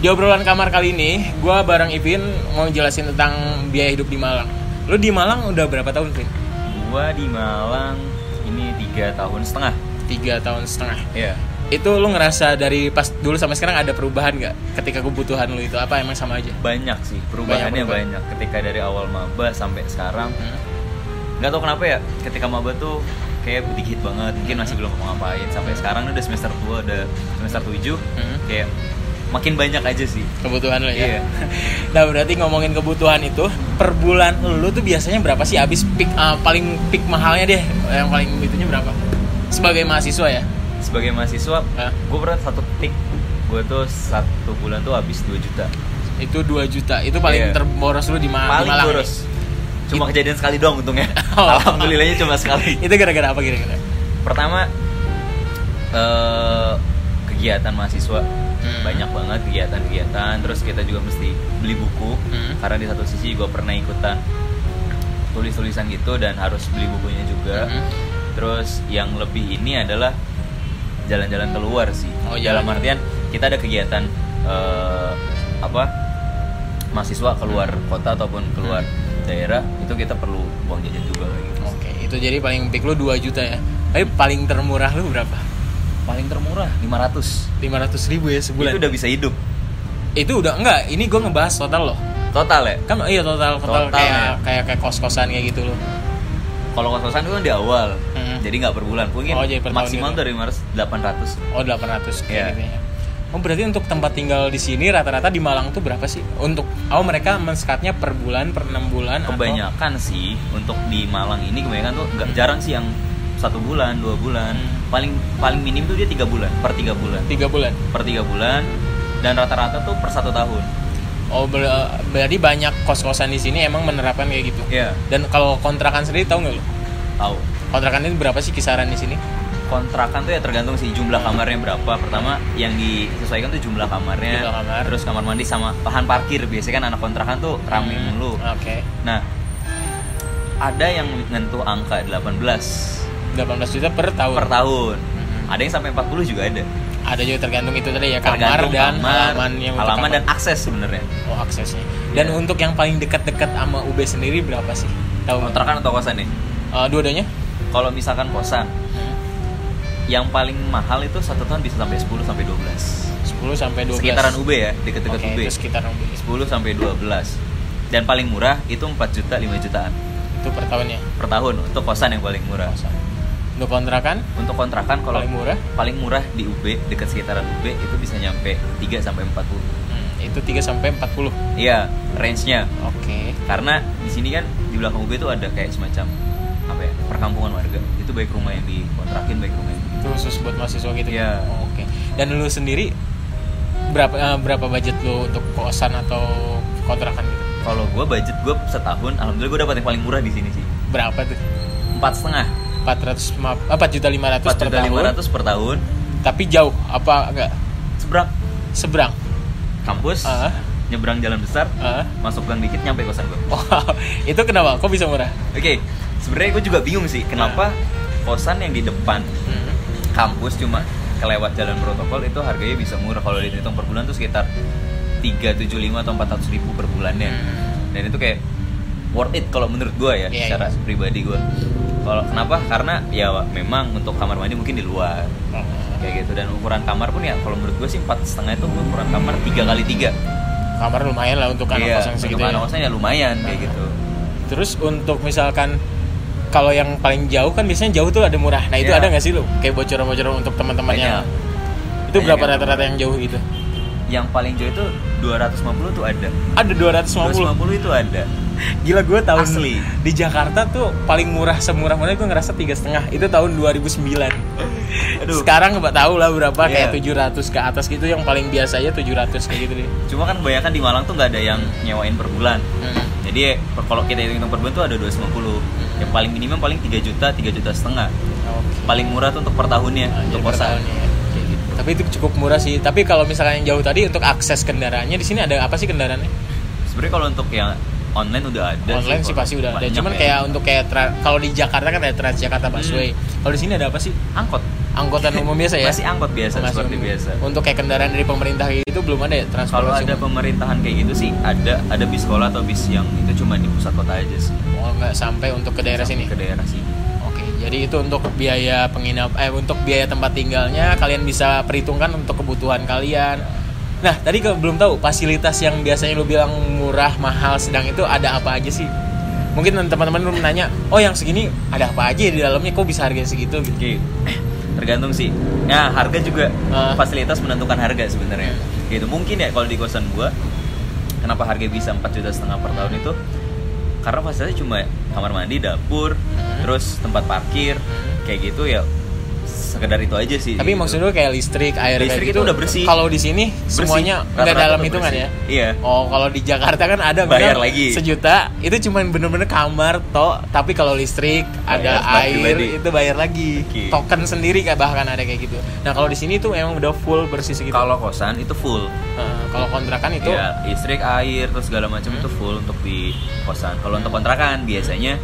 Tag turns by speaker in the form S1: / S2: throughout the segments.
S1: Di obrolan kamar kali ini, gue bareng Ipin mau jelasin tentang biaya hidup di Malang. Lo di Malang udah berapa tahun, Vin?
S2: Gua di Malang ini tiga tahun setengah.
S1: Tiga tahun setengah.
S2: Iya.
S1: Itu lo ngerasa dari pas dulu sampai sekarang ada perubahan nggak ketika kebutuhan lo itu? Apa emang sama aja?
S2: Banyak sih perubahannya
S1: Banyak
S2: banyak,
S1: perubahan.
S2: ketika dari awal maba sampai sekarang.
S1: Hmm.
S2: Nggak tahu kenapa ya ketika maba tuh kayak dikit banget mungkin masih
S1: Mm-hmm.
S2: belum mau ngapain sampai sekarang udah semester tua udah semester 7
S1: Hmm.
S2: kayak makin banyak aja sih
S1: Kebutuhan lo ya?
S2: Iya.
S1: nah berarti ngomongin kebutuhan itu, per bulan lo tuh biasanya berapa sih abis peak, eh, paling peak mahalnya deh? Yang paling itunya berapa? Sebagai mahasiswa ya?
S2: sebagai mahasiswa
S1: Hah?
S2: gue pernah satu tik gue tuh satu bulan tuh habis 2 juta
S1: Itu 2 juta. Itu paling
S2: Iya.
S1: terboros lo di, Ma- Ah, di
S2: paling
S1: Malang. nih.
S2: boros cuma kejadian sekali doang untungnya
S1: Oh.
S2: alhamdulillahnya cuma sekali
S1: Itu gara-gara apa kira-kira?
S2: pertama eh, kegiatan mahasiswa
S1: Hmm.
S2: banyak banget kegiatan-kegiatan terus kita juga mesti beli buku
S1: Hmm.
S2: karena di satu sisi gue pernah ikutan tulis-tulisan gitu dan harus beli bukunya juga
S1: Hmm.
S2: terus yang lebih ini adalah jalan-jalan keluar sih
S1: Oh,
S2: dalam
S1: jalan.
S2: artian kita ada kegiatan eh, apa mahasiswa keluar
S1: Hmm.
S2: kota ataupun keluar daerah itu kita perlu uang jajan juga kayak gitu.
S1: Oke, itu jadi paling peak lu 2 juta ya. Tapi paling termurah lu berapa?
S2: paling termurah 500
S1: 500 ribu ya sebulan.
S2: itu udah bisa hidup
S1: Itu udah- enggak, ini gue ngebahas total loh.
S2: total ya
S1: Kan iya total total,
S2: Total,
S1: kayak,
S2: ya.
S1: kayak kayak kos-kosan kayak gitu loh.
S2: kalau kos-kosan itu kan di awal
S1: Hmm.
S2: jadi nggak per bulan mungkin
S1: Oh, jadi per tahun
S2: maksimal
S1: gitu.
S2: dari 500 800
S1: Oh, 800 kayak
S2: Iya.
S1: gitu ya. Oh, berarti untuk tempat tinggal di sini rata-rata di Malang tuh berapa sih? Untuk oh mereka mensekatnya per bulan, per 6 bulan atau-
S2: kebanyakan sih untuk di Malang ini kebanyakan tuh nggak
S1: Hmm.
S2: jarang sih yang satu bulan dua bulan
S1: Hmm.
S2: paling paling minim tuh dia tiga bulan per tiga bulan
S1: tiga bulan.
S2: per tiga bulan dan rata-rata tuh per satu tahun
S1: Oh, ber- berarti banyak kos-kosan di sini emang menerapkan kayak gitu.
S2: Iya.
S1: Dan kalau kontrakan sendiri tahu nggak lo?
S2: tahu
S1: Kontrakan itu berapa sih kisaran di sini?
S2: kontrakan tuh ya tergantung sih jumlah kamarnya berapa pertama yang disesuaikan tuh jumlah kamarnya
S1: Jumlah kamar.
S2: terus kamar mandi sama bahan parkir biasanya kan anak kontrakan tuh rame
S1: Hmm,
S2: mulu
S1: Oke.
S2: nah ada yang nyentuh angka 18
S1: 18 juta per tahun.
S2: per tahun
S1: Mhm.
S2: ada yang sampai 40 juga ada
S1: Ada juga tergantung itu tadi ya kamar
S2: Tergantung
S1: dan
S2: kamar,
S1: halaman yang untuk
S2: halaman dan
S1: kamar.
S2: akses sebenarnya
S1: oh aksesnya. Dan
S2: Iya.
S1: untuk yang paling dekat-dekat sama UB sendiri berapa sih? Tahu nggak?
S2: kontrakan atau kosan nih
S1: Eh, dua-duanya?
S2: kalau misalkan kosan Hmm. yang paling mahal itu satu tahun bisa sampai 10 sampai 12
S1: 10 sampai 12.
S2: sekitaran UB ya deket-deket
S1: Oke,
S2: UB
S1: itu sekitaran UB.
S2: 10 sampai 12 dan paling murah itu 4 juta 5 jutaan
S1: Itu per tahunnya.
S2: per tahun untuk kosan yang paling murah
S1: Kosan. Untuk kontrakan
S2: untuk kontrakan kalau
S1: paling murah
S2: paling murah di UB dekat sekitaran UB itu bisa nyampe 3 sampai 40
S1: hmm, itu 3 sampai 40.
S2: iya range-nya
S1: Oke.
S2: karena di sini kan di belakang UB itu ada kayak semacam apa ya perkampungan warga itu baik rumah yang dikontrakin baik rumah yang
S1: Itu khusus buat mahasiswa gitu. ya?
S2: Iya.
S1: Oh, Oke. Dan lu sendiri berapa eh, berapa budget lu untuk kosan atau kontrakan gitu?
S2: kalau gue budget gue setahun alhamdulillah gue dapat yang paling murah di sini sih
S1: Berapa tuh?
S2: empat setengah
S1: 400 maaf, eh, 4 juta 500
S2: empat
S1: per
S2: juta lima
S1: tahun,
S2: ratus per tahun
S1: tapi jauh apa enggak
S2: seberang
S1: seberang
S2: kampus
S1: Ah.
S2: nyebrang jalan besar
S1: Heeh.
S2: masuk gang dikit nyampe kosan gue
S1: wow itu kenapa kok bisa murah
S2: oke sebenarnya gue juga bingung sih
S1: Ah.
S2: kenapa kosan yang di depan
S1: Hmm.
S2: kampus cuma kelewat jalan protokol itu harganya bisa murah kalau dihitung per bulan tuh sekitar 375 atau 400 ribu per bulannya
S1: Hmm.
S2: dan itu kayak worth it kalau menurut gue ya
S1: Iya,
S2: secara
S1: iya.
S2: pribadi gue kalau kenapa karena ya memang untuk kamar mandi mungkin di luar
S1: Oh,
S2: kayak gitu dan ukuran kamar pun ya kalau menurut gue sih empat setengah itu ukuran kamar tiga kali tiga
S1: kamar lumayan lah untuk anak kosan
S2: Iya, untuk
S1: segitu
S2: anak
S1: ya.
S2: kosan ya lumayan kayak gitu
S1: terus untuk misalkan kalau yang paling jauh kan biasanya jauh tuh ada murah nah itu
S2: Iya.
S1: ada nggak sih lu kayak bocoran-bocoran untuk teman-temannya
S2: Banyak.
S1: itu
S2: Banyak
S1: berapa
S2: yang
S1: rata-rata yang jauh gitu
S2: yang paling jauh itu 250 tuh ada
S1: ada 250
S2: 250 itu ada
S1: gila gue tahun
S2: Asli.
S1: di Jakarta tuh paling murah semurah murah gue ngerasa tiga setengah itu tahun 2009
S2: aduh
S1: Sekarang nggak tahu lah berapa
S2: Iya.
S1: kayak 700 ke atas gitu yang paling biasanya 700 kayak gitu deh.
S2: cuma kan kebanyakan di Malang tuh nggak ada yang nyewain per bulan
S1: Hmm.
S2: jadi eh, per- kalau kita hitung per bulan tuh ada 250 yang paling minimum paling 3 juta 3 juta setengah
S1: Oke.
S2: paling murah tuh untuk per tahunnya
S1: Nah, jadi
S2: untuk
S1: per
S2: kosan
S1: tahunnya ya. Tapi itu cukup murah sih. Tapi kalau misalnya yang jauh tadi untuk akses kendaraannya di sini ada apa sih kendaraannya?
S2: sebenarnya kalau untuk yang online udah ada
S1: Online sih
S2: kalau-
S1: pasti udah ada.
S2: banyak
S1: Cuman
S2: ya.
S1: kayak untuk kayak tra- kalau di Jakarta kan ada Transjakarta Busway. Kalau di sini ada apa sih?
S2: angkot
S1: angkutan umum biasa ya
S2: Hmm. Masih angkot biasa
S1: Masih
S2: seperti
S1: umum.
S2: biasa.
S1: untuk kayak kendaraan dari pemerintah kayak gitu belum ada ya
S2: Kalau
S1: transportasi
S2: ada
S1: umum?
S2: pemerintahan kayak gitu sih ada ada bis sekolah atau bis yang itu cuma di pusat kota aja sih.
S1: oh nggak sampai untuk ke daerah sini
S2: Ke daerah sini.
S1: Oke, jadi itu untuk biaya penginap eh untuk biaya tempat tinggalnya kalian bisa perhitungkan untuk kebutuhan kalian. Nah, tadi ke, belum tahu fasilitas yang biasanya lu bilang murah, mahal, sedang itu ada apa aja sih? Mungkin teman-teman lu nanya, "Oh, yang segini ada apa aja di dalamnya kok bisa harganya segitu?" gitu.
S2: Oke, tergantung sih. Nah, harga juga
S1: Ah.
S2: fasilitas menentukan harga sebenarnya. Gitu. Mungkin ya kalau di kosan gua kenapa harga bisa 4 juta setengah per tahun itu karena fasilitasnya cuma kamar mandi, dapur, terus tempat parkir, kayak gitu ya sekedar itu aja sih.
S1: Tapi
S2: gitu.
S1: maksud lu kayak listrik, air kayak
S2: Listrik itu
S1: gitu.
S2: udah bersih.
S1: Kalau di sini
S2: Bersih.
S1: semuanya nggak
S2: Rata-rata
S1: dalam
S2: tuh
S1: hitungan
S2: bersih.
S1: ya.
S2: Iya.
S1: Oh, kalau di Jakarta kan ada
S2: Bayar
S1: misalnya
S2: lagi.
S1: sejuta itu cuman bener-bener kamar tok, tapi kalau listrik ada
S2: Bayar tempat
S1: air
S2: pribadi.
S1: itu bayar lagi.
S2: Oke.
S1: Token sendiri kayak bahkan ada kayak gitu. Nah, kalau di sini tuh emang udah full bersih segitu.
S2: Kalau kosan itu full.
S1: Eh, kalau kontrakan itu
S2: Iya, listrik, air, terus segala macam itu full untuk di kosan. Kalau untuk kontrakan biasanya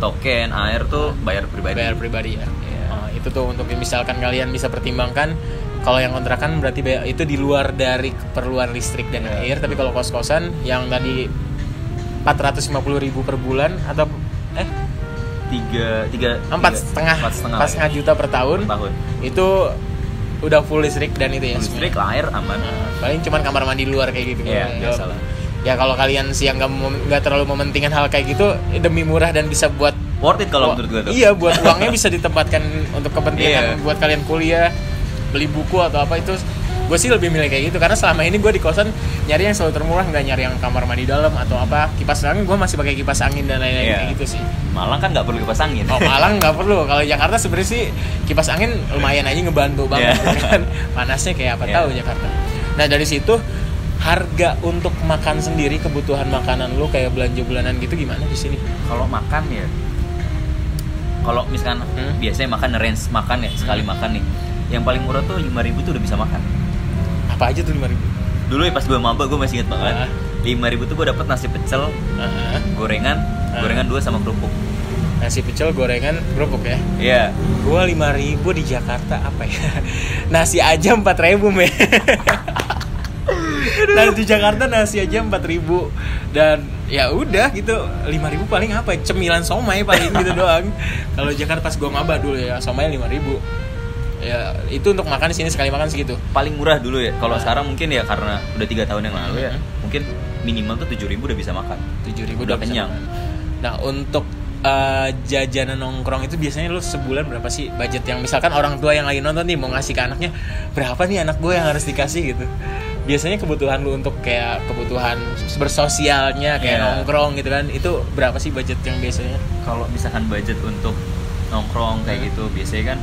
S2: token air tuh bayar pribadi.
S1: bayar pribadi ya.
S2: Iya.
S1: Oh, itu tuh untuk misalkan kalian bisa pertimbangkan kalau yang kontrakan berarti bayar- itu di luar dari keperluan listrik dan
S2: Iya.
S1: air, tapi kalau kos-kosan yang tadi 450.000 per bulan atau eh
S2: tiga tiga
S1: Oh, empat
S2: tiga-
S1: setengah
S2: Iya, empat setengah ya.
S1: empat setengah juta per tahun
S2: per tahun
S1: itu udah full listrik dan itu ya
S2: listrik
S1: semuanya.
S2: air aman
S1: Nah, paling cuman kamar mandi luar kayak gitu Ya,
S2: Iya, biasa lah.
S1: ya kalau kalian sih yang nggak mem- nggak terlalu mementingkan hal kayak gitu demi murah dan bisa buat
S2: worth it kalau menurut gue tuh
S1: iya buat uangnya bisa ditempatkan untuk kepentingan
S2: Iya.
S1: buat kalian kuliah beli buku atau apa itu gue sih lebih milih kayak gitu karena selama ini gue di kosan nyari yang selalu termurah nggak nyari yang kamar mandi dalam atau apa kipas angin gue masih pakai kipas angin dan lain-lain
S2: Iya.
S1: kayak gitu sih
S2: Malang kan nggak perlu kipas angin
S1: Oh Malang nggak perlu. Kalau Jakarta sebenarnya sih kipas angin lumayan aja ngebantu banget
S2: Iya.
S1: kan. Panasnya kayak apa
S2: Iya.
S1: tahu Jakarta. Nah dari situ harga untuk makan sendiri kebutuhan makanan lu kayak belanja bulanan gitu gimana di sini?
S2: kalau makan ya kalau misalkan
S1: Hmm.
S2: biasanya makan range makan ya sekali makan nih yang paling murah tuh 5000 tuh udah bisa makan
S1: Apa aja tuh lima ribu?
S2: dulu ya pas gue maba gue masih inget
S1: Ah.
S2: banget 5000 tuh gue dapet nasi pecel gorengan
S1: Ah.
S2: gorengan dua sama kerupuk
S1: Nasi pecel, gorengan, kerupuk ya.
S2: iya
S1: Gua lima ribu di Jakarta apa ya? Nasi aja empat ribu men. Dan di Jakarta nasi aja empat ribu dan ya udah gitu lima ribu paling apa? ya? Cemilan somai paling gitu doang. Kalau Jakarta pas gua maba dulu ya somai lima ribu. Ya itu untuk makan di sini sekali makan segitu.
S2: paling murah dulu ya kalau
S1: Ah.
S2: sekarang mungkin ya karena udah tiga tahun yang lalu ya
S1: Mhm.
S2: mungkin minimal tuh 7000 udah bisa makan
S1: Tujuh ribu
S2: Udah kenyang.
S1: Nah untuk eh, jajanan nongkrong itu biasanya lu sebulan berapa sih budget yang misalkan orang tua yang lagi nonton nih mau ngasih ke anaknya berapa nih anak gue yang harus dikasih gitu biasanya kebutuhan lu untuk kayak kebutuhan bersosialnya kayak
S2: Iya.
S1: nongkrong gitu kan itu berapa sih budget yang biasanya
S2: kalau misalkan budget untuk
S1: Hmm.
S2: nongkrong kayak gitu biasanya kan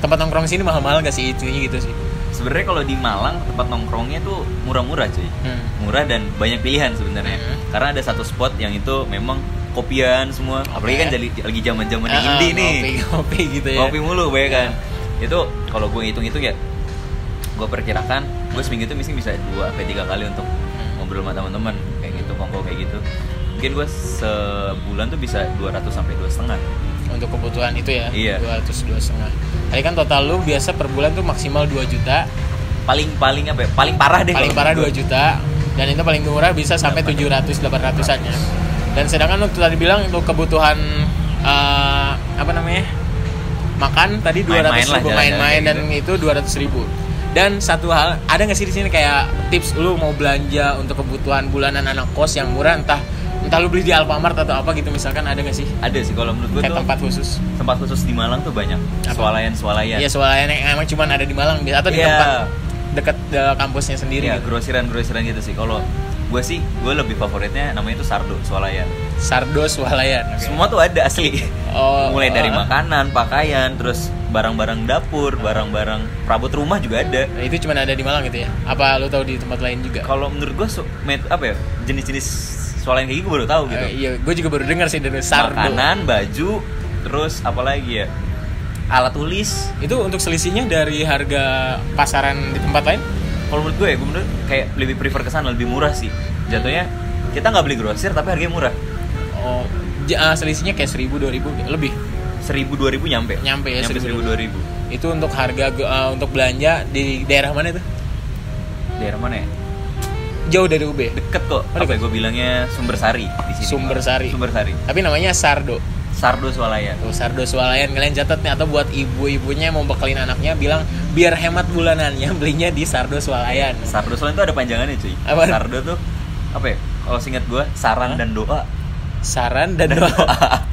S1: tempat nongkrong sini mahal-mahal gak sih itunya gitu sih
S2: sebenarnya kalau di Malang tempat nongkrongnya tuh murah-murah cuy
S1: Hmm.
S2: murah dan banyak pilihan sebenarnya
S1: Mhm.
S2: karena ada satu spot yang itu memang kopian semua apalagi
S1: Oke.
S2: kan jadi lagi zaman zaman
S1: Ah,
S2: indie nih
S1: ngopi ngopi gitu ya
S2: kopi mulu banyak kan itu kalau gue hitung hitung ya gue perkirakan gue seminggu itu mungkin bisa dua sampai tiga kali untuk
S1: Hmm.
S2: ngobrol sama teman-teman kayak gitu kongko kayak gitu mungkin gue sebulan tuh bisa 200 sampai dua setengah
S1: untuk kebutuhan itu ya
S2: Iya.
S1: 202 setengah tadi kan total lu biasa per bulan tuh maksimal 2 juta
S2: paling paling apa ya paling parah deh
S1: paling
S2: kalau
S1: parah
S2: menurut
S1: 2 juta dan itu paling murah bisa sampai 700 800-an ya. Dan sedangkan untuk tadi bilang untuk kebutuhan eh, apa namanya? makan tadi 200
S2: Main-main lah,
S1: ribu
S2: jalan-jalan
S1: main-main
S2: kayak
S1: dan itu 200 ribu dan satu hal ada nggak sih di sini kayak tips lu mau belanja untuk kebutuhan bulanan anak kos yang murah entah entah lu beli di Alfamart atau apa gitu misalkan ada nggak sih
S2: ada sih kalau menurut gue
S1: kayak
S2: tuh
S1: tempat khusus
S2: tempat khusus di Malang tuh banyak
S1: Apa?
S2: swalayan swalayan
S1: Iya soalnya yang emang cuma ada di Malang atau di
S2: Iya.
S1: tempat dekat eh, kampusnya sendiri
S2: ya
S1: gitu.
S2: grosiran grosiran gitu sih kalau gue sih gue lebih favoritnya namanya itu sardo swalayan
S1: Sardo Swalayan. oke.
S2: semua tuh ada asli
S1: Oh,
S2: mulai dari
S1: eh.
S2: makanan pakaian terus barang-barang dapur barang-barang perabot rumah juga ada
S1: Nah, itu cuma ada di Malang gitu ya? Apa lu tahu di tempat lain juga?
S2: kalau menurut gue apa ya jenis-jenis swalayan kayak gitu gue baru tahu gitu
S1: Eh, iya, gue juga baru dengar sih dari Sardo.
S2: makanan baju terus apalagi ya alat tulis
S1: Itu untuk selisihnya dari harga pasaran di tempat lain?
S2: kalau menurut gue ya gue menurut kayak lebih prefer ke sana lebih murah sih jatuhnya kita nggak beli grosir tapi harganya murah
S1: Oh, j- ah, selisihnya kayak 1000 2000 gitu, lebih.
S2: seribu dua ribu nyampe
S1: Nyampe ya,
S2: nyampe seribu
S1: 1000-2000.
S2: dua ribu
S1: itu untuk harga eh, untuk belanja di daerah mana itu
S2: daerah mana ya
S1: jauh dari UB
S2: deket kok apa
S1: Oh,
S2: ya,
S1: deket.
S2: gue bilangnya Sumbersari di sini
S1: Sumbersari.
S2: Sumbersari
S1: tapi namanya Sardo
S2: Sardo Swalaya
S1: Tuh, Sardo Swalayan kalian catat nih atau buat ibu-ibunya yang mau bekelin anaknya bilang biar hemat bulanannya belinya di Sardo Swalayan
S2: Sardo Swalaya itu ada panjangannya cuy
S1: Apa?
S2: Sardo tuh apa ya kalau singkat gue saran dan doa
S1: saran dan doa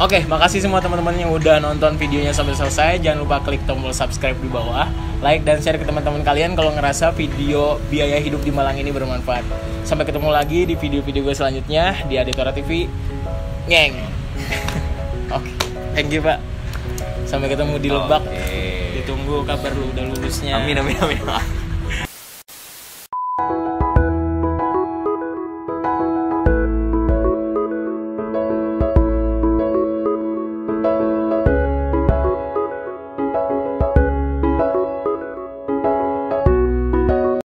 S1: Oke, makasih semua teman-teman yang udah nonton videonya sampai selesai. Jangan lupa klik tombol subscribe di bawah, like dan share ke teman-teman kalian kalau ngerasa video biaya hidup di Malang ini bermanfaat. Sampai ketemu lagi di video-video gue selanjutnya di Aditora TV. Ngeng. Oke, thank you, Pak. Sampai ketemu di Lebak.
S2: Oke.
S1: Ditunggu kabar lu udah lulusnya.
S2: Oh, iya. amin amin amin